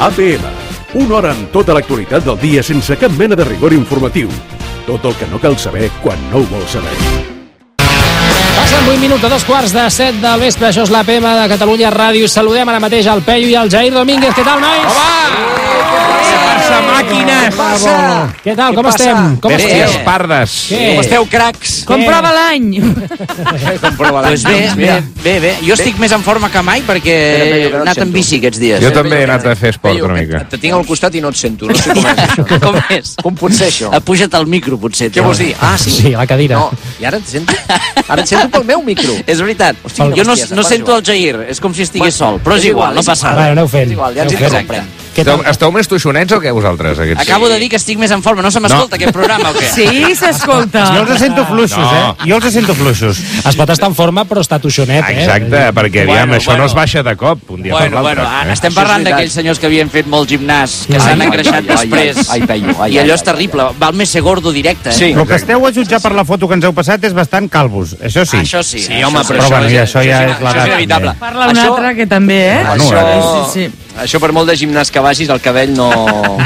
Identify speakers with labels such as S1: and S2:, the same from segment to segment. S1: APM. Una hora amb tota l'actualitat del dia sense cap mena de rigor informatiu. Tot el que no cal saber quan no ho vols saber.
S2: Passen 8 minuts a dos quarts de 7 del vespre. Això és la PM de Catalunya Ràdio. Saludem ara mateix al Peyu i al Jair Domínguez. Què tal, nois?
S3: Què passa, màquines?
S4: passa?
S2: Què tal? Com
S4: passa?
S2: estem? Com
S3: Bèsties
S2: estem?
S3: pardes.
S2: Què?
S4: Com esteu, cracs?
S5: Comprova l'any.
S4: Comprova
S6: Doncs bé, bé, bé, bé. Jo estic més en forma que mai perquè
S4: Espera, Peyu, que no
S6: he
S4: et
S6: anat
S4: sento.
S6: en bici aquests dies.
S3: Jo també he anat a fer esport una mica.
S4: Te tinc al costat i no et sento. No sé com és això.
S6: Com és?
S4: Com pot ser això?
S6: Apuja't al micro, potser.
S4: Què
S6: tu.
S4: vols dir? Ah, sí.
S2: Sí, a la cadira.
S4: No, i ara et sento? Ara et sento pel meu micro.
S6: És veritat.
S4: Hosti, quina
S6: jo no,
S4: bestiesa,
S6: no
S4: per
S6: sento el Jair, és com si estigués sol, però és
S4: és
S6: igual, no
S4: igual, és
S6: passa
S2: Va,
S6: res.
S2: aneu fent.
S4: És igual, ja ens
S2: aneu fent.
S4: intercomprem.
S2: Què
S3: Esteu,
S2: tal?
S3: esteu més tuixonets o què, vosaltres, aquests?
S6: Acabo de dir que estic més en forma, no se m'escolta aquest programa o què?
S5: Sí, s'escolta.
S7: Jo els sento fluixos,
S3: No.
S7: eh? Jo els sento fluixos.
S2: Es pot estar en forma, però està tuixonet, eh?
S3: Exacte, perquè, aviam,
S6: Bueno,
S3: això
S6: bueno.
S3: no es baixa de cop, un dia
S6: Bueno,
S3: per
S6: bueno,
S3: l'altre.
S6: ara
S3: eh?
S6: estem
S4: Això és
S6: parlant
S4: veritat.
S6: d'aquells senyors que havien fet molt gimnàs, que
S2: Ai,
S6: s'han
S2: ai,
S6: engreixat
S4: ai, ai,
S6: després.
S4: ai, Peyu, ai,
S6: I allò
S4: ai,
S6: és
S4: ai,
S6: terrible, val més ser gordo directe, eh?
S4: Sí.
S7: El que esteu a jutjar per la foto que ens heu passat és bastant calvos, això sí.
S6: Ah, Això sí.
S3: Sí, home,
S7: Però bueno, ja, això ja és
S6: Això
S7: l'edat.
S6: és inevitable.
S7: també.
S5: Parla un
S6: Això- Ah,
S5: altre que també, eh?
S7: Bueno,
S4: això,
S5: Sí, sí,
S4: això per molt de gimnàs que vagis, el cabell no...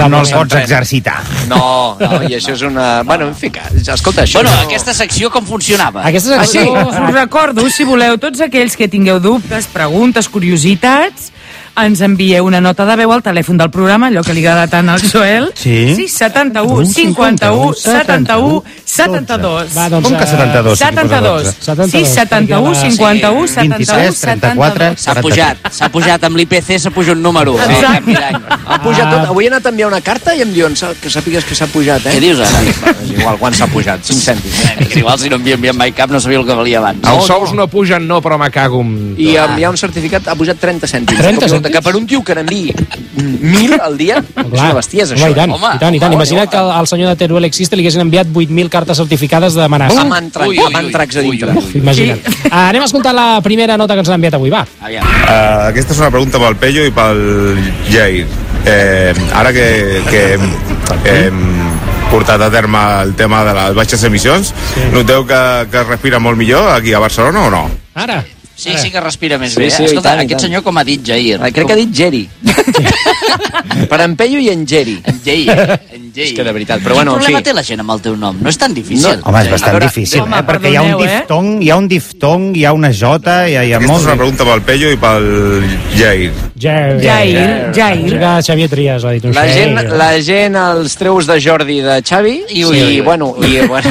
S7: No el
S4: se'n
S7: pots
S4: pren.
S7: exercitar.
S4: No, no, i això és una... Bueno, en fi, que- escolta, això...
S6: Bueno, aquesta secció com funcionava?
S2: Aquesta
S4: Ah,
S2: és
S5: Ah, sí. Us ho recordo, si voleu, tots aquells que tingueu dubtes, preguntes, curiositats, ens envieu una nota de veu al telèfon del programa, allò que li agrada tant al Joel.
S7: Sí.
S5: 71, 51, 71, 72.
S2: Va, doncs,
S7: Com que 72? si t'hi posa
S5: 72.
S7: 12?
S5: Sí, 71, 51, 71,
S7: 23, 34,
S5: 72.
S6: S'ha pujat, s'ha pujat. Amb l'IPC s'ha pujat un número. Eh, Sí,
S5: Exacte.
S6: canvi d'any.
S4: Ha pujat tot. Avui he anat a enviar una carta i em diuen "Sa- que sàpigues que s'ha pujat, eh?
S6: Què dius ara?
S4: Bueno, és igual, quan s'ha pujat? 5 cèntims.
S6: Eh, que Igual si no havia enviat mai cap no sabia el que valia abans.
S3: Els sous no pugen, no, però me cago en...
S4: I enviar un certificat ha pujat 30 cèntims.
S2: 30
S4: Com
S2: cèntims?
S4: Que per un tio que n'enviï 1.000 al dia, és una bestiesa, això. eh?"
S2: Home, i tant,
S6: Home,
S2: i tant, i tant.
S6: home,
S2: Imagina't que al senyor de Teruel Existe li haguessin enviat 8.000 cartes certificades d'amenaça.
S4: Amb antracs,
S6: Ui, ui,
S4: amb
S6: ui.
S4: antracs a
S6: Ui,
S4: dintre.
S6: ui,
S2: Imagina't. Ah, anem a escoltar la primera nota que ens han enviat avui, va.
S6: Aviam.
S8: Uh, aquesta és una pregunta pel Pello i pel Jair. Eh, ara que, que hem, hem portat a terme el tema de les baixes emissions, noteu que, que es respira molt millor aquí a Barcelona o no?
S2: Ara.
S6: Sí, sí que respira més
S4: Sí,
S6: bé. eh?
S4: sí, i
S6: Escolta,
S4: tant, i
S6: aquest
S4: tant.
S6: senyor com ha dit, Jair?
S4: Ah, Crec que ha dit Geri. per en Peyu i en Geri.
S6: En Jair. En Jair.
S4: És que de veritat, però bueno, en
S6: Quin problema
S4: fi.
S6: té la gent amb el teu nom? No és tan difícil.
S7: Home, és
S6: A
S7: bastant
S6: veure,
S7: difícil,
S5: home,
S7: eh? Perquè hi ha un
S5: perdoneu, eh?
S7: diftong, hi ha un diftong, hi ha una jota, hi ha, hi ha
S8: Aquesta
S7: molts...
S8: és una pregunta pel Pello i pel Jair.
S2: Jair.
S5: Jair,
S2: Això
S5: Jair.
S2: que Xavier Trias ho ha dit.
S4: La gent, la gent els treus de Jordi i de Xavi i,
S6: Ui, ui,
S4: i
S6: ui.
S4: bueno, i, bueno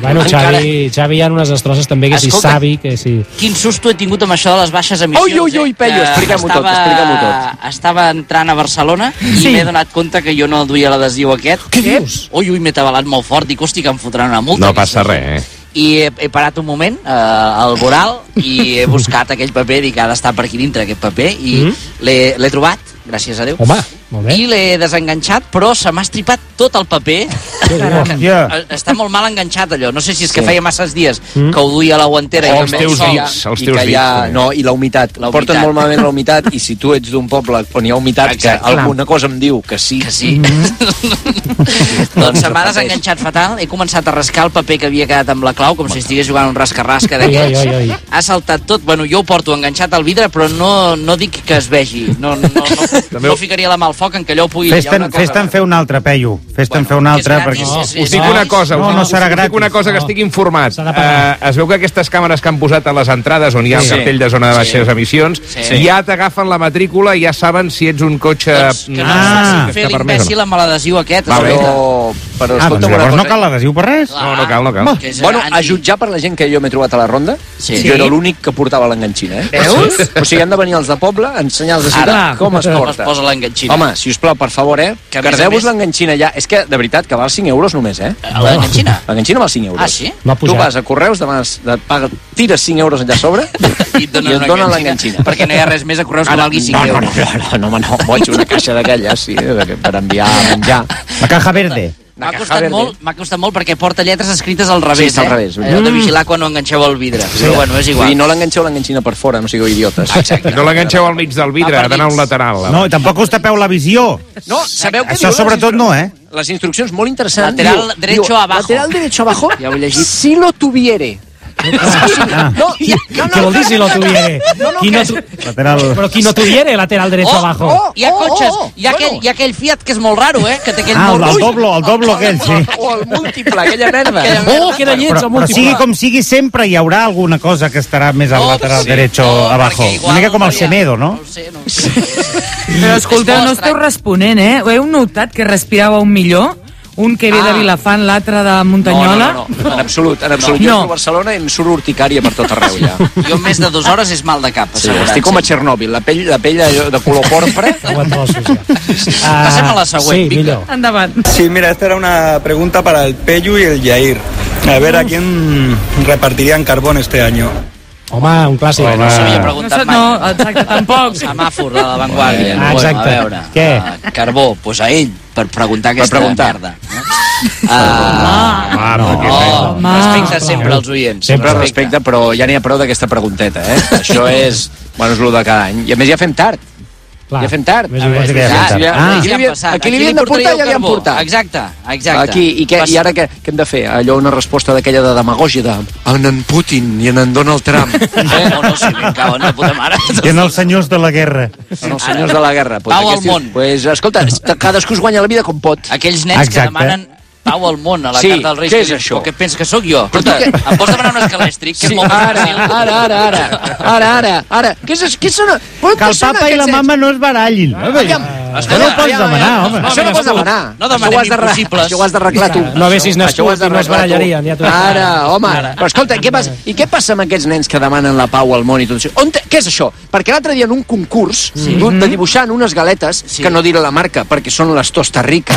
S2: Bueno,
S4: encara-
S2: Xavi, Xavi hi ha unes destrosses també que si
S6: Escolta.
S2: savi, que si...
S6: Quin susto he tingut amb això de les baixes emissions.
S4: Ui, ui, ui,
S6: eh?
S4: Pello,
S6: Que
S4: explica-m'ho tot, explica-m'ho tot.
S6: Estava entrant a Barcelona i
S5: Sí.
S6: m'he donat compte que jo no duia l'adhesiu aquest. Eh?
S2: Què dius?
S6: Ui, ui, m'he tabalat molt fort, dic, hosti, que em fotran una multa.
S3: No passa res, eh?
S6: I he, he parat un moment eh, al voral i he buscat aquell paper, dic, ha d'estar per aquí dintre aquest paper, i mm
S2: Mhm.
S6: -hmm. l'he trobat, gràcies a Déu.
S2: Home, molt bé.
S6: I l'he desenganxat, però se m'ha estripat tot el paper.
S2: Déu, Déu.
S7: Ja.
S6: Eh, Està molt mal enganxat, allò. No sé si és que feia masses dies que ho duia a la guantera. i
S3: O Oh, els
S6: em
S3: teus
S6: sol.
S3: dits, els
S4: i
S3: teus
S4: que hi ha,
S3: dits.
S4: no, i la humitat.
S6: La
S4: la Porten
S6: humitat.
S4: molt malament la humitat i si tu ets d'un poble on hi ha humitat
S6: Exacte.
S4: que alguna cosa em diu que sí,
S6: que sí. doncs se m'ha desenganxat fatal, he començat a rascar el paper que havia quedat amb la clau, com si estigués jugant a un rascarrasca
S2: Ai, ai, ai,
S6: d'aquells.
S2: ai.
S6: Ha saltat tot, bueno, jo ho porto enganxat al vidre, però no, no dic que es vegi. No, no, no, no ficaria la mà al foc en què allò pugui...
S7: Fes-te'n fes fer un altre, Peyu. Fes-te'n fer un altre, perquè...
S3: Us dic una cosa,
S7: No,
S3: us, dic-
S7: no
S3: us
S7: serà
S3: dic
S7: gratis.
S3: una cosa que estic informat.
S2: S'ha de pagar.
S3: Eh, es veu que aquestes càmeres que han posat a les entrades on hi ha el
S4: Sí.
S3: cartell de zona de baixes emissions,
S6: Sí.
S3: ja t'agafen la matrícula i ja saben si ets un cotxe...
S6: Doncs que no
S3: Ah,
S6: ah, fer
S3: que permès o
S6: l'imbècil
S3: no.
S6: amb l'adhesiu aquest.
S3: Va bé.
S6: escolta.
S4: però, però
S7: Ah, doncs
S4: escolta'm una
S7: llavors no
S4: cosa. eh?
S7: cal l'adhesiu per res.
S3: eh? No, no cal, no cal.
S6: Que és
S4: Bueno, a
S6: anti-
S4: jutjar per la gent que jo m'he trobat a la ronda,
S6: Sí.
S4: jo era l'únic que portava l'enganxina, eh? Veus? O sigui, han de venir els de poble, a ensenyar els de ciutat
S6: Ara,
S4: com es
S6: com
S4: porta.
S6: es posa l'enganxina.
S4: Home, si us plau, per favor, eh?
S6: Que a més a
S4: Guardeu-vos
S6: més-
S4: l'enganxina ja. És que, de veritat, que val 5 euros només, eh?
S6: A l'enganxina.
S4: L'enganxina val 5 euros.
S6: Ah, sí?
S2: No ha
S4: tu
S2: pujat.
S4: vas a Correus, demanes, et paga, tires 5 euros allà a sobre
S6: I et donen,
S4: i et donen l'enganxina.
S6: Perquè no hi ha res més a correus que valgui 5
S4: No, no,
S6: euros.
S4: no, no, no, home, no, boig, una caixa d'aquella, sí, de que- per enviar a menjar.
S7: La caja verde.
S6: M'ha
S4: Una caja
S6: costat,
S4: verde.
S6: molt, m'ha costat molt perquè porta lletres escrites al revés,
S4: està al
S6: eh?
S4: revés.
S6: Heu de vigilar quan no enganxeu el vidre. Però bueno, és
S4: Vull
S6: igual.
S4: dir, no l'enganxeu l'enganxina per fora, no sigueu idiotes.
S3: No l'enganxeu al mig del vidre,
S6: Va per
S3: ha d'anar a un
S6: dins.
S3: lateral. la-
S7: No, i tampoc us tapeu la visió.
S4: No, sabeu què
S7: Això
S4: diu?
S7: sobretot no, eh?
S4: Les instruccions molt interessants.
S6: Lateral derecho abajo.
S4: Lateral derecho abajo.
S6: Ja ho he llegit.
S4: Si lo tuviere.
S6: No, ja, no,
S2: ¿Qué
S6: no,
S2: vol dir si lo tuviere?
S6: No, no,
S2: Qui no
S6: que-
S2: tu-
S7: Lateral.
S2: Però qui no tuviere, lateral
S6: Oh,
S2: derecho
S4: oh,
S2: abajo.
S6: hi ha cotxes, hi ha, aquell, hi ha aquell Fiat que és molt raro, eh? Que té aquell
S7: Ah, el,
S6: molt...
S7: el doblo, el doblo aquell, sí.
S6: O el múltiple, aquella merda.
S2: Oh, queda lleig
S7: Però,
S2: el
S7: però sigui
S2: múltiple.
S7: com sigui, sempre hi haurà alguna cosa que estarà més al
S6: No,
S7: lateral
S6: Oh, sí.
S7: derecho
S6: No,
S7: abajo.
S6: perquè igual
S7: Una mica com el
S6: hauria-
S7: Semedo, no?
S6: No ho sé, no ho sé.
S5: Però escolteu, no esteu responent, eh? Heu notat que respirava un millor? Un que ve de
S6: Ah.
S5: Vilafant, l'altre de
S4: No, no,
S5: Muntanyola?
S4: no, no, en absolut, en absolut.
S5: No.
S4: Jo entro a Barcelona i em surt urticària per tot arreu, ja.
S6: Jo en més de dues hores és mal de cap,
S4: Sí,
S6: assegurat.
S4: estic com a Txernòbil, la pell, la pell allò de color porpra.
S2: Aguanta trossos, ja. Ah,
S6: Passem a la següent,
S2: Sí,
S6: vinga.
S2: millor.
S5: Endavant.
S9: Sí, mira, esta era una pregunta para el Peyu y el Yair. A ver a quién repartirían carbón este año.
S2: Home, un clàssic.
S6: No s'havia
S5: No,
S6: preguntat
S5: sé-
S6: mai.
S5: no, exacte, tampoc.
S6: Semàfor de l'avantguàrdia.
S2: Ah, exacte.
S6: Bueno, a veure,
S2: Què?
S6: Uh, Carbó, doncs pues a ell, per preguntar aquesta
S4: preguntar.
S6: merda. Uh, ah,
S7: Ah, no.
S6: oh,
S5: Home.
S6: respecte sempre als oients.
S2: Sempre
S4: Però respecte, però ja n'hi ha prou d'aquesta pregunteta, eh? Això és... Bueno, és lo de cada any. I a més ja fem tard.
S2: Clar.
S4: Ja fem tard.
S2: Més
S4: A
S2: o menys
S4: veure,
S2: que ja
S4: ja-
S2: fem tard.
S4: ja-
S2: Ah.
S4: Aquí li havien- aquí li havien de
S6: portaria
S4: portar, ja
S6: el
S4: li han
S6: carbó.
S4: portat.
S6: Exacte, exacte.
S4: Aquí, i, què,
S6: Vas-
S4: i ara què, què hem de fer? Allò una resposta d'aquella de demagògia de en en Putin i en en Donald Trump.
S6: Eh? Oh, no, sí, ben cau, no, puta mare.
S7: I en els senyors de la guerra.
S4: Són els senyors de la guerra. Pues,
S6: Pau al
S4: aquests-
S6: món.
S4: Pues, escolta, cadascú es guanya la vida com pot.
S6: Aquells nens
S7: Exacte.
S6: que demanen pau al món a la
S4: Sí,
S6: carta del rei.
S4: què és això?
S6: O què et penses que sóc jo? Però tu, què? em pots demanar un escalèstric? Que és molt
S4: Ara,
S6: fàcil.
S4: ara, ara, ara, ara, ara, ara. Què, és, què són? Però
S7: Que
S4: què
S7: el
S4: són
S7: papa i la
S4: aquests Ah. nens?
S7: mama no es barallin.
S4: Aviam,
S7: eh, No ho pots demanar, home.
S4: Això no ho
S2: Vinga,
S4: pots demanar.
S6: No
S4: Això ho
S6: demanem
S4: has d'arreglar-
S6: impossibles.
S4: Això ho has d'arreglar tu.
S2: No haguessis
S4: Això ho
S2: nascut
S4: has d'arreglar
S2: i no es barallarien,
S4: tu.
S2: ja t'ho dic.
S4: Ara, home. Però escolta, què passa? I què passa amb aquests nens que demanen la pau al món i tot això? On te... Què és això? Perquè l'altre dia en un concurs sí. Mhm. de dibuixant unes galetes,
S6: Sí.
S4: que no diré la marca perquè són les Tosta Rica,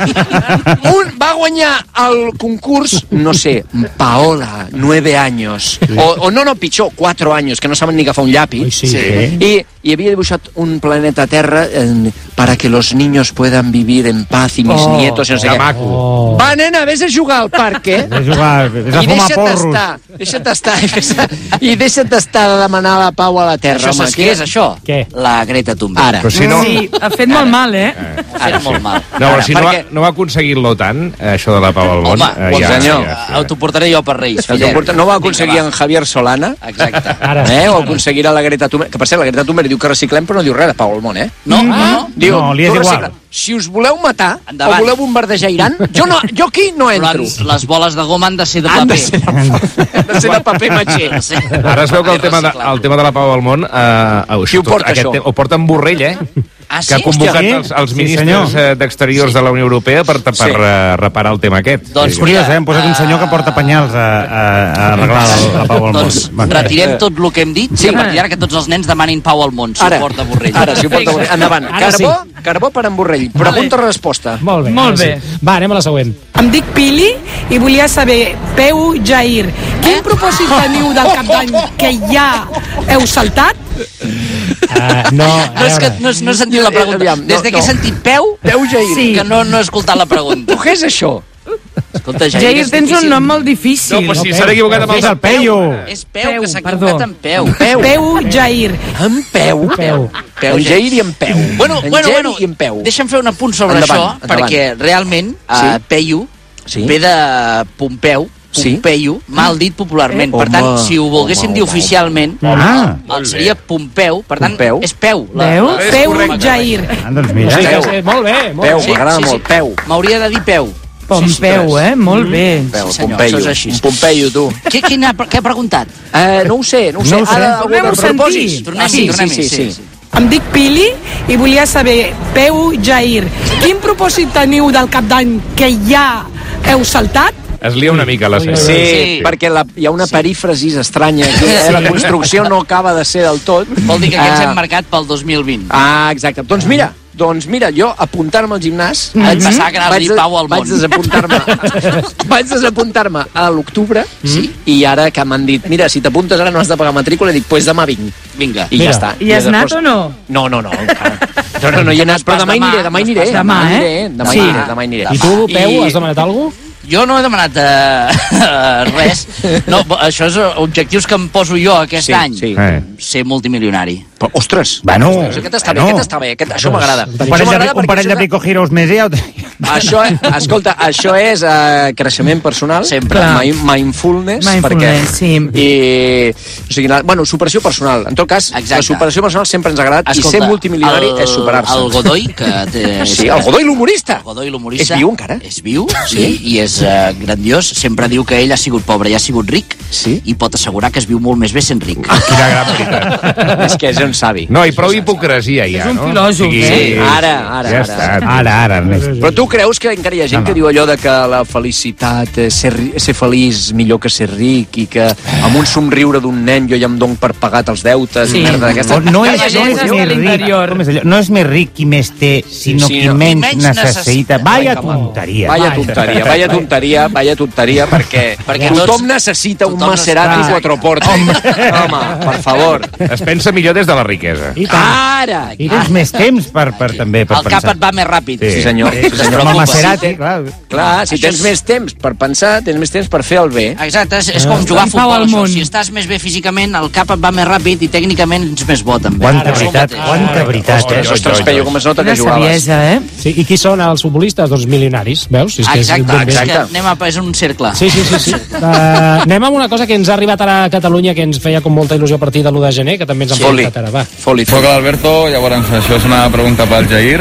S4: un va guanyar el concurs, no sé, Paola, 9 anys. O, o no, no, pitjor, 4 anys, que no saben ni agafar un llapis.
S2: Ui, sí. Sí.
S4: I, I havia dibuixat un planeta Terra eh, para que los niños puedan vivir en paz y mis
S2: Oh,
S4: nietos, i no sé
S3: que
S4: què.
S3: maco.
S2: Oh.
S4: Va, nena, vés a jugar al parc, eh?
S7: És a jugar, és a
S4: I
S7: fumar
S4: deixa't
S7: porros.
S4: estar, deixa't estar, i fes- i deixa't estar de demanar la pau a la Terra,
S6: Això
S4: home.
S6: saps què és, això?
S2: Què?
S6: La Greta Thunberg.
S4: Ara.
S3: Però si no...
S5: Sí, ha fet molt mal, eh?
S6: Ho ha fet molt mal.
S3: No, però si no,
S4: Perquè-
S3: ha, no ha aconseguit l'OTAN, eh, això de la pau al món.
S6: Home,
S3: eh,
S6: bon
S4: senyor.
S6: Eh, T'ho portaré jo per Reis,
S4: El
S6: fillet.
S4: comporta- No va aconseguir
S6: Vinga,
S4: en Javier Solana.
S6: va. Exacte.
S2: Ara.
S4: Eh, o aconseguirà la Greta Thunberg. Que, per cert, la Greta Thunberg diu que reciclem, però no diu res de Pau al món, eh?
S6: No, no, no.
S4: Diu,
S7: No, li és
S4: tu
S7: igual.
S4: recicla. Si us voleu matar
S6: Endavant.
S4: o voleu bombardejar Iran, jo, no, jo aquí no
S6: Però
S4: entro.
S6: les, les boles de goma han de ser de
S4: Han de
S6: paper.
S4: ser de, han de, ser de paper matxer.
S6: Sí.
S3: Ara es veu que el tema, de,
S6: Reciclable.
S3: el tema de la pau al món... Eh, oh,
S4: Qui ho porta,
S3: aquest
S4: això?
S3: te- Ho porta en Borrell, eh?
S6: Ah, sí?
S3: que ha convocat
S7: Hòstia, sí?
S3: els, els
S7: Sí,
S3: ministres
S7: senyor.
S3: eh, d'exteriors de la Unió Europea per, per
S4: Sí.
S3: eh, reparar el tema aquest.
S6: Doncs
S7: És curiós, eh? Hem posat un senyor que porta penyals a, a, a arreglar la, la pau al món.
S6: Doncs
S7: Va.
S6: retirem tot el que hem dit sí. i a partir d'ara que tots els nens demanin pau al món, si
S4: Ara,
S6: ho porta Borrell.
S4: ara, si ho porta Borrell. Endavant.
S2: Ara sí.
S4: carbó, carbó per en Borrell. Pregunta-resposta.
S2: Molt bé.
S5: Molt
S2: ara sí.
S5: bé.
S2: Va, anem a la següent.
S10: Em dic Pili i volia saber, Peu Jair, quin propòsit teniu del cap d'any que ja heu saltat?
S7: Ah,
S2: Uh, no,
S6: No, és que no, no he sentit la pregunta.
S4: Eh, Aviam, no,
S6: Des de que he
S4: no.
S6: sentit peu,
S4: Déu, Jair.
S5: Sí.
S6: que no, no he escoltat la pregunta.
S4: Tu què és això?
S6: Escolta, Jair,
S5: Jair,
S6: és
S5: tens un
S6: difícil.
S5: nom molt difícil.
S3: No, però si
S2: Peu.
S3: s'han equivocat amb
S7: És
S3: els...
S7: el Peyu.
S6: És peu,
S5: Peu,
S6: que s'ha
S5: perdó.
S6: equivocat en peu.
S4: Peu.
S10: Peu Jair.
S4: En peu.
S2: Peu.
S4: En Jair i en peu.
S6: Bueno,
S4: en
S6: bueno,
S4: Jair
S6: bueno,
S4: i en peu.
S6: deixa'm fer un apunt sobre
S4: Endavant,
S6: això,
S4: endavant.
S6: perquè realment uh,
S4: Sí.
S6: Peyu
S4: Sí.
S6: ve de Pompeu,
S4: Sí.
S6: Pompeio, mal dit popularment.
S4: Eh,
S6: per tant,
S4: home,
S6: si ho volguéssim
S4: home,
S6: dir
S4: home,
S6: oficialment,
S7: Ah,
S6: el seria Pompeu, per tant,
S4: Pompeu.
S6: és peu.
S5: Veu?
S6: la-
S10: Peu Jair.
S7: ah, doncs
S2: O
S7: mira.
S2: sigui que,
S4: Peu.
S2: sí, molt bé, molt
S4: Peu,
S2: bé.
S4: m'agrada molt. Peu.
S6: M'hauria de dir peu.
S5: Pompeu, eh? Molt bé.
S4: Peu,
S6: senyor,
S4: Pompeio.
S6: això és així.
S4: Un Pompeio, tu.
S6: Què, quina, què ha preguntat?
S4: Eh, no ho sé, no ho sé.
S7: No ho sé.
S4: Ara, algú de
S5: Tornem-ho a sentir.
S4: propòsits.
S6: Tornem-hi,
S4: Ah, sí,
S6: tornem-hi,
S4: sí, sí,
S6: sí,
S4: sí.
S10: Em dic Pili i volia saber, Peu Jair, quin propòsit teniu del cap d'any que ja heu saltat?
S3: Es lia una mica la senyora.
S4: Sí,
S6: Sí.
S4: perquè la, hi ha una perífrasi estranya. Aquí, eh?
S6: Sí.
S4: La construcció no acaba de ser del tot.
S6: Vol dir que aquests
S4: Ah,
S6: hem marcat pel 2020.
S4: Ah, exacte. Doncs mira, doncs mira, jo apuntar-me al gimnàs... Mm -hmm.
S6: pensava que anaves a dir Pau al món.
S4: Vaig desapuntar-me. vaig desapuntar-me a l'octubre
S6: Mm.
S4: sí. i ara que m'han dit, mira, si t'apuntes ara no has de pagar matrícula, dic, pues demà vinc.
S6: Vinga.
S4: I
S2: Mira.
S4: ja està.
S5: Hi has anat o no?
S4: No, no, no, encara. No, no, no hi he anat, però
S6: pas
S4: demà hi
S6: demà,
S4: aniré, demà hi
S6: no
S4: aniré.
S6: pas
S5: demà, eh?
S4: aniré, Demà hi
S5: Sí.
S4: aniré, demà hi aniré.
S2: I tu, Peu,
S6: I-
S2: has demanat alguna cosa?
S6: Jo no he demanat eh, res. No, bo- això és eh, objectius que em poso jo aquest
S4: Sí,
S6: any.
S4: sí.
S3: Eh.
S6: ser multimilionari.
S4: Però, ostres!
S7: Bueno,
S6: Ostres, aquest està bé,
S7: bueno.
S6: aquest està bé, aquest, això m'agrada.
S7: Un
S6: Això
S7: parell de,
S6: m'agrada
S7: un
S6: perquè
S7: parell
S6: això
S7: de Pico Heroes més i ja ho tenia.
S4: Això, eh, escolta, això és eh, creixement personal, sempre,
S5: Clar.
S4: mi- mindfulness,
S5: Mindfulness,
S4: perquè... I, o sigui, la, bueno, superació personal. En tot cas, Exacte. la superació personal sempre ens ha agradat
S6: Escolta,
S4: i ser multimilionari
S6: el-
S4: és superar-se.
S6: el Godoy, que té-
S4: Sí, el Godoy l'humorista.
S6: El Godoy, l'humorista...
S4: És viu, encara?
S6: És viu, sí, i és eh, grandiós. Sempre diu que ell ha sigut pobre i ha sigut ric, sí? i pot assegurar que es viu molt més bé sent ric.
S3: Quina gran veritat.
S4: És que és un savi.
S3: No, i prou hipocresia, ja, no?
S5: filòsof, eh?
S4: Ara, ara,
S3: ja
S4: ara.
S3: Està.
S7: Ara, ara, Ernest.
S4: Però tu creus que encara hi ha gent que diu allò de que la felicitat, eh, ser, ri- ser feliç millor que ser ric i que amb un somriure d'un nen jo ja em dono per pagat els deutes
S5: Sí.
S4: i merda
S7: O
S4: d'aquesta.
S7: no és,
S5: Cavalletes
S7: no és
S5: de
S7: més ric,
S5: l'interior.
S7: com és allò? no és més ric qui més té, sinó
S4: sí,
S7: qui
S4: no.
S7: menys,
S6: Qui menys
S7: necessita.
S6: necessita.
S7: Vaya tonteria.
S4: Vaya tonteria, vaya tonteria, vaya tonteria, perquè,
S6: Perquè
S4: tothom
S6: tots-
S4: necessita un
S6: tothom
S4: Maserati
S6: està-
S4: quatre portes. Home, home, per favor.
S3: Es pensa millor des de la riquesa.
S7: I tant.
S6: Ara!
S7: I tens més temps per, per, també per
S6: el cap
S7: pensar.
S6: et va més ràpid.
S7: Sí.
S4: Sí, senyor. Sí,
S6: Des
S4: senyor.
S7: Amb el
S6: preocupa.
S7: Maserati, clar.
S4: Clar, si
S6: Això
S4: tens
S6: és-
S4: més temps per pensar, tens més temps per fer el bé.
S6: Exacte, és, és com jugar a
S5: en pau
S6: futbol,
S5: al
S6: això.
S5: món.
S6: Si estàs més bé físicament, el cap et va més ràpid i tècnicament ets més bo, també.
S7: Quanta
S6: Ara, és el
S7: veritat,
S6: mateix.
S7: quanta veritat.
S4: Ostres,
S7: eh?
S4: ostres, Peyu, com es nota que
S5: Quina
S4: jugaves.
S5: saviesa, eh?
S2: Sí, I qui són els futbolistes? Doncs milionaris, veus? És que és
S6: Exacte,
S2: ben bé.
S6: és que anem a... És un cercle.
S2: Sí, sí, sí. sí. Uh, anem amb una cosa que ens ha arribat ara a Catalunya que ens feia com molta il·lusió a partir de l'1 de gener, que també ens ha
S4: Foli.
S2: portat ara. Va.
S4: Foli,
S9: Soc
S4: foli.
S9: l'Alberto, llavors això és una pregunta pel Jair.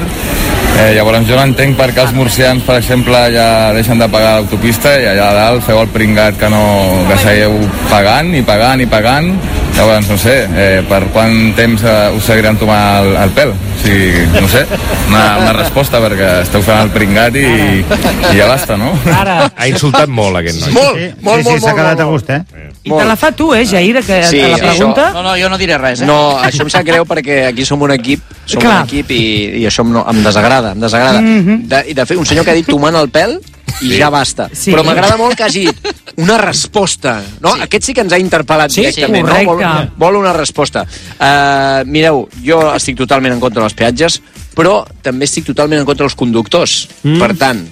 S9: Eh, llavors jo no entenc per què els murcians, per exemple, ja deixen de pagar l'autopista i allà a dalt feu el pringat que, no, que seguiu pagant i pagant i pagant. Llavors, no sé, eh, per quant temps eh, us seguiran tomant el, el pèl? O sigui, no sé, una, una resposta perquè esteu fent el pringat i, i ja basta, no?
S2: Ara,
S3: Ha insultat molt, aquest noi.
S4: Molt,
S7: Sí,
S4: molt,
S7: sí,
S4: molt,
S7: s'ha
S4: molt,
S7: quedat a
S4: molt.
S7: gust, eh?
S5: I te la fa tu, eh, Jair, que,
S4: Sí,
S5: a la
S4: sí,
S5: pregunta?
S6: No, no, jo no diré res, eh?
S4: No, això em sap greu perquè aquí som un equip, som
S5: Clar.
S4: un equip i, i això em, no, em desagrada, em desagrada. Mm -hmm. de, I de fet, un senyor que ha dit tomant el pèl i sí. ja basta.
S5: Sí.
S4: Sí. Però m'agrada molt que hagi dit una resposta. No? Sí. Aquest sí que ens ha interpel·lat
S2: Sí,
S4: directament.
S5: sí,
S4: no? vol,
S5: correcte.
S4: vol una resposta. Uh, mireu, jo estic totalment en contra dels peatges, però també estic totalment en contra dels conductors. Mm. Per tant,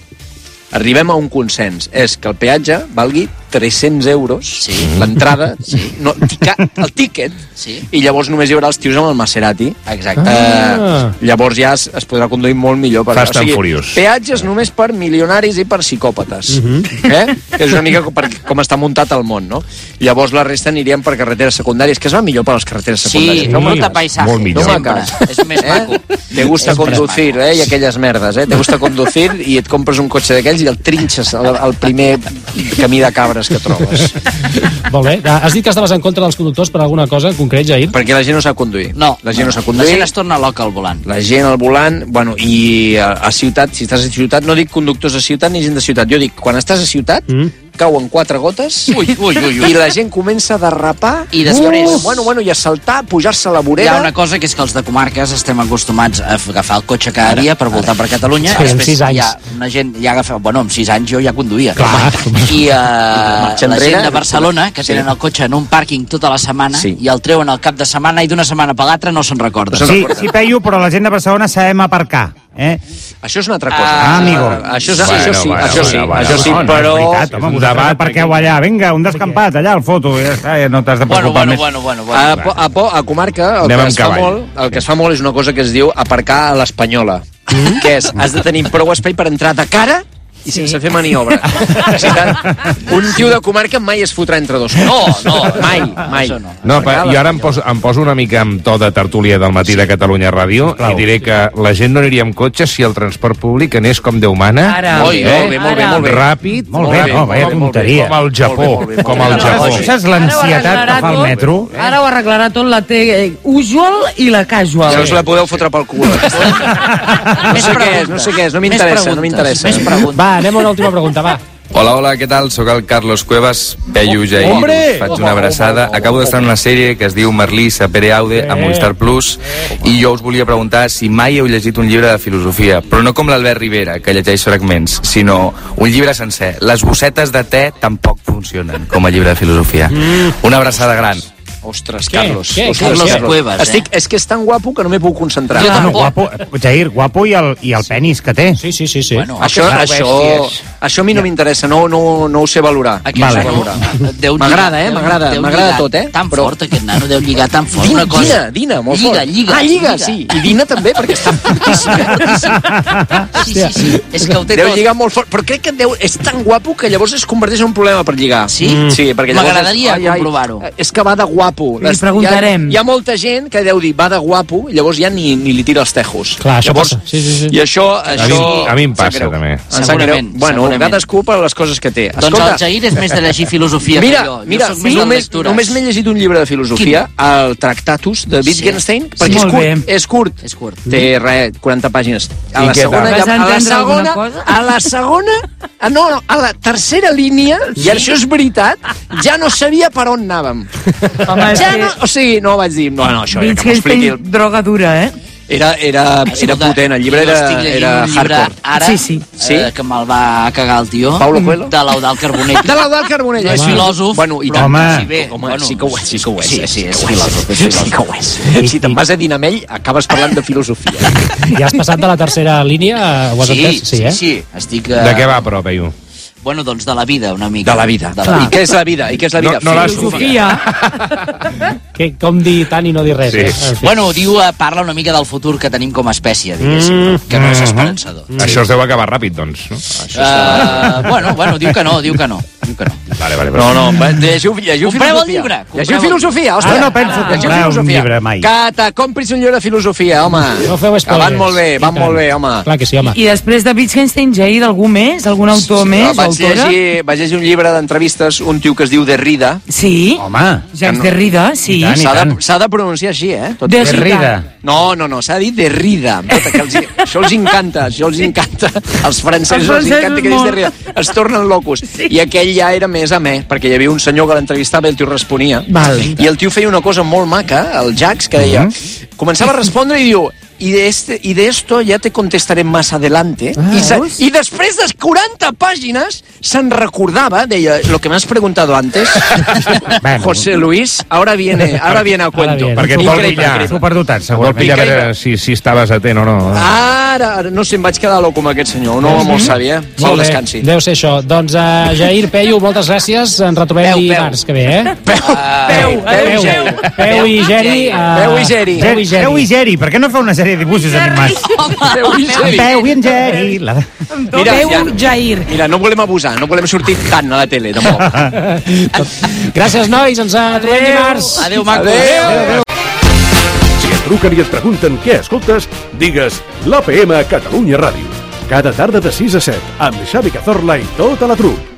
S4: arribem a un consens, és que el peatge valgui 300 euros, sí. l'entrada, sí. no, tica, el tíquet,
S6: Sí.
S4: i llavors només hi haurà els tios amb el Maserati.
S6: Exacte.
S2: Ah.
S4: Eh, llavors ja es, es podrà conduir molt millor. Per,
S3: Fast and Furious. Mhm.
S4: Peatges només per milionaris i per psicòpates. eh? Que és una mica com, per, com està muntat el món, no? Llavors la resta anirien per carreteres secundàries, que es va millor per les carreteres
S6: Sí,
S4: secundàries.
S6: no molta paisatge.
S3: Molt millor.
S6: Sempre. És més maco.
S4: Eh? Te gusta conducir, eh? I aquelles merdes, eh? Te gusta conducir i et compres un cotxe d'aquells i el trinxes al, al primer camí de cabres que trobes.
S2: molt bé. Ah, Has dit que estaves en contra dels conductors per alguna cosa en concret, Jair?
S4: Perquè la gent no sap conduir.
S6: No.
S4: La gent no sap
S6: La
S4: conduir.
S6: gent es torna loca al volant.
S4: La gent al volant, bueno, i a, a ciutat, si estàs a ciutat, no dic conductors a ciutat ni gent de ciutat, jo dic, quan estàs a ciutat, mm. cauen quatre gotes
S6: Ui, ui, ui,
S4: i
S6: ui.
S4: la gent comença a derrapar
S6: I després-
S4: uh, bueno, bueno, i a saltar, a pujar-se a la
S6: Hi
S4: vorera
S6: ha una cosa que és que els de comarques estem acostumats a f- agafar el cotxe cada dia per voltar per Catalunya.
S2: Sí, amb
S6: Després
S2: sis anys.
S6: Hi ha una gent, ja agafa, bueno, amb 6 anys jo ja conduïa.
S2: Clar.
S6: I uh, la
S4: enrere.
S6: gent de Barcelona, que tenen el cotxe en un pàrquing tota la setmana
S4: Sí.
S6: i el treuen al cap de setmana i d'una setmana per l'altra no se'n recorda.
S7: Sí, sí, Peyu, però la gent de Barcelona sabem aparcar. Eh?
S4: Això és una altra cosa.
S7: Ah, amigo.
S4: Això, és,
S3: Bueno,
S4: això sí,
S3: bueno,
S4: això sí,
S3: bueno,
S4: això Oh, sí,
S3: bueno.
S4: però...
S7: No, és veritat, home,
S3: Un
S7: vosaltres
S3: debat
S7: aparqueu allà. Vinga, un descampat, allà, el foto. Ja està, ja no t'has de
S6: Bueno,
S7: preocupar
S6: bueno,
S7: més.
S6: bueno, bueno, bueno.
S4: A, po- a, po- a comarca el
S3: Anem
S4: que,
S3: amb
S4: es fa
S3: cavall.
S4: molt, el que es fa molt és una cosa que es diu aparcar a l'espanyola, que és, has de tenir prou espai per entrar de cara i sense fer maniobra. O sigui, tant, un tio de comarca mai es fotrà entre dos. No, no, mai, mai.
S6: Això no.
S3: No, pa, jo ara em poso, em poso una mica amb to de tertúlia del matí de Catalunya Ràdio i diré que la gent no aniria amb cotxe si el transport públic anés com Déu mana.
S5: Ara.
S4: Oi, molt bé, molt bé, molt bé.
S3: Ràpid.
S7: Molt bé, no, vaya tonteria.
S3: Com al Japó. Com al
S7: Aleshores,
S3: Japó.
S7: Saps l'ansietat que fa el metro?
S5: Ara ho arreglarà tot la T eh, usual i la casual.
S4: Ja us la podeu fotre pel cul. No sé què és, no sé què és, no m'interessa, no m'interessa.
S6: Més preguntes.
S2: Va, anem a una última pregunta, va.
S9: Hola, hola, què tal? Sóc el Carlos Cuevas, Peyu Jair, us faig una abraçada. Acabo d'estar en una sèrie que es diu Merlissa Pere Aude
S3: Eh?
S9: a Movistar Plus i jo us volia preguntar si mai heu llegit un llibre de filosofia, però no com l'Albert Rivera, que llegeix fragments, sinó un llibre
S3: Mm.
S9: sencer. Les bossetes de te tampoc funcionen com a llibre de filosofia. Una abraçada gran.
S4: Ostres,
S2: Què?
S4: Carlos.
S2: Què?
S4: Ostres,
S2: Carlos Cuevas, eh?
S4: Estic, és que és tan guapo que no m'he pogut concentrar.
S7: Ah, no, guapo, Jair, guapo i el, i el penis que té.
S2: Sí, sí, sí. sí.
S7: Bueno,
S6: Oh,
S4: Això, això, això a mi no m'interessa, no, no, no ho sé valorar.
S7: Aquí ho sé Vale.
S4: valorar.
S6: Deu
S4: M'agrada,
S6: lligar,
S4: eh?
S6: deu-
S4: M'agrada,
S6: deu
S4: m'agrada
S6: lligar
S4: tot, eh?
S6: Tan fort, aquest nano, deu lligar tan fort.
S4: Dina,
S6: una cosa.
S4: Dina, Dina, molt
S6: lliga,
S4: fort.
S6: Lliga,
S4: ah, lliga, sí. I Dina també, perquè està fortíssima.
S6: Sí, sí, sí. És que ho té
S4: deu
S6: tot.
S4: lligar molt fort, però crec que deu, és tan guapo que llavors es converteix en un problema per lligar. Mm.
S6: Sí?
S4: Sí, perquè llavors...
S6: M'agradaria
S4: és- ai, ai,
S6: comprovar-ho.
S4: És que va de guapo.
S5: Li preguntarem.
S4: Hi ha, hi ha molta gent que deu dir va de guapo, i llavors ja ni, ni li tira els tejos.
S2: Clar, això
S4: llavors,
S2: passa. Sí, sí, sí.
S4: I això...
S3: A
S4: això
S3: mi, a mi em
S4: em sap
S3: passa,
S4: greu.
S3: també.
S4: Em sap
S6: Segurament,
S4: greu. Bueno,
S6: segurament.
S4: cadascú per les coses que té.
S6: Doncs el Jair és més de llegir filosofia que
S4: mira,
S6: jo. Jo
S4: Mira,
S6: sóc més de
S4: només,
S6: lectures.
S4: només m'he llegit un llibre de filosofia, el Tractatus, de Wittgenstein,
S5: Sí,
S4: perquè és
S5: molt
S4: curt,
S5: bé.
S4: és curt.
S6: És curt.
S4: Té res, 40 pàgines. A
S3: I
S4: la
S3: què
S4: segona,
S3: tal?
S5: Vas
S4: ja, a la
S5: entendre alguna
S4: segona,
S5: cosa?
S4: a la segona, ah, no, no, a la tercera línia, i això és veritat, ja no sabia per on anàvem.
S5: Home,
S6: Ah,
S5: és
S4: Ja
S5: que-
S4: no, o sigui, no vaig dir, no, no, això era que
S5: Wittgenstein,
S4: m'expliqui. el-
S5: droga dura, eh?
S4: Era, era, era
S6: Ah, Escolta,
S4: potent, el
S6: jo
S4: llibre era,
S6: estic llegint
S4: era
S6: un llibre
S4: hardcore.
S6: Ara,
S5: Sí, sí.
S4: Sí?
S6: Eh, que me'l va cagar el tio.
S4: Paulo Coelho?
S6: De l'Eudal Carbonell.
S4: De l'Eudal Carbonell.
S6: Ah, És
S4: sí.
S6: filòsof.
S4: Bueno, i
S6: però
S7: tant. Home.
S6: si bé,
S4: Home,
S6: bueno,
S4: sí que ho és, Eh, sí que ho és.
S6: Sí, sí, és
S4: que ho
S6: filòsof, és
S4: Sí que ho és. Si te'n vas a Dinamell, acabes parlant de filosofia.
S2: Ja has passat de la tercera línia, ho has
S6: Sí,
S2: entès?
S6: sí,
S2: eh?
S6: sí, estic... eh,
S3: De què va, però, Peyu?
S6: Bueno, doncs de la vida, una mica.
S4: De la vida.
S6: De la
S4: I
S6: vida.
S4: què és la vida? I què és la vida?
S3: No- no l'has-
S5: Filosofia.
S2: Que, com dir tant i no dir res.
S3: Sí.
S2: Eh? En fi.
S6: Bueno, diu, eh, parla una mica del futur que tenim com a espècie, diguéssim,
S2: Mm.
S6: no? que no és esperançador. Mm.
S3: Això es deu acabar ràpid, doncs. No? Això...
S6: Uh, bueno, bueno, diu que no, diu que no. Diu que no.
S3: Vale, vale,
S4: No,
S3: vale.
S4: no, va, llegiu, llegiu
S6: Compreu el
S4: filosofia.
S6: llibre, compreu
S4: Llegiu
S6: el-
S4: filosofia, hòstia.
S7: Ara no penso comprar un llibre mai.
S4: Que te compris un llibre de filosofia, home.
S2: No feu
S4: Que
S2: spoilers.
S4: van molt bé,
S2: I
S4: van
S2: tant.
S4: molt bé, home.
S2: Clar que sí, home.
S5: I després de Wittgenstein, Jair, algú més? Algun autor més?
S4: Ah, vaig,
S5: autora?
S4: llegir, vaig llegir un llibre d'entrevistes, un tio que es diu Derrida.
S5: Sí,
S7: Home,
S5: Jacques Derrida, sí.
S7: I tant, i
S4: S'ha de,
S7: tant.
S4: s'ha de pronunciar així, eh? Tot
S7: que rida.
S4: No, no, no, s'ha dit de rida. Puta, que els, això els encanta, això els encanta.
S5: Els
S4: Els francesos, els
S5: francesos
S4: encanta que diguis de
S5: molt.
S4: rida. Es tornen locos. Sí. I aquell ja era més amè, perquè hi havia un senyor que l'entrevistava i el tio responia.
S5: Val.
S4: I el tio feia una cosa molt maca, el Jax, que deia... Començava a respondre i diu... I de, este, I de esto ya te contestaré más adelante. Ah, I, se, I després de 40 pàgines se'n recordava, deia, lo que m'has preguntado antes,
S7: Bueno.
S4: José Luis, ahora viene, ahora viene a cuento.
S2: viene.
S3: Perquè et vol
S4: Increïble,
S3: pillar.
S4: increïble.
S7: S'ho perdotat,
S3: Vol
S7: segurament.
S3: pillar a veure si, si estaves atent o no.
S4: Ara, ara, no sé, em vaig quedar loco amb aquest senyor. Un home molt savi, eh? Molt
S2: bé,
S4: descansi.
S2: Deu ser això. Doncs, uh, Jair, Peyu, moltes gràcies. Ens retrobem
S6: Peu, peu.
S2: dimarts que ve, eh?
S4: Peu, peu, peu,
S2: Peu,
S4: peu.
S2: peu i Geri. eh,
S4: Peu i Geri.
S2: Peu i
S7: Peu i
S2: Geri.
S7: Geri, per què no fa una sèrie de dibuixos animats?
S4: Peu i Geri.
S7: Peu i en Geri. La...
S4: Mira,
S5: Peu,
S4: ja-
S5: Jair.
S4: Mira, no volem abusar, no volem sortir tant a la tele, tampoc.
S2: Gràcies, nois. Ens eh, trobem dimarts.
S6: Adéu, maco.
S4: Adéu.
S1: Si et truquen i et pregunten què escoltes, digues l'APM Catalunya Ràdio. Cada tarda de 6 a 7, amb Xavi Cazorla i tota la trup.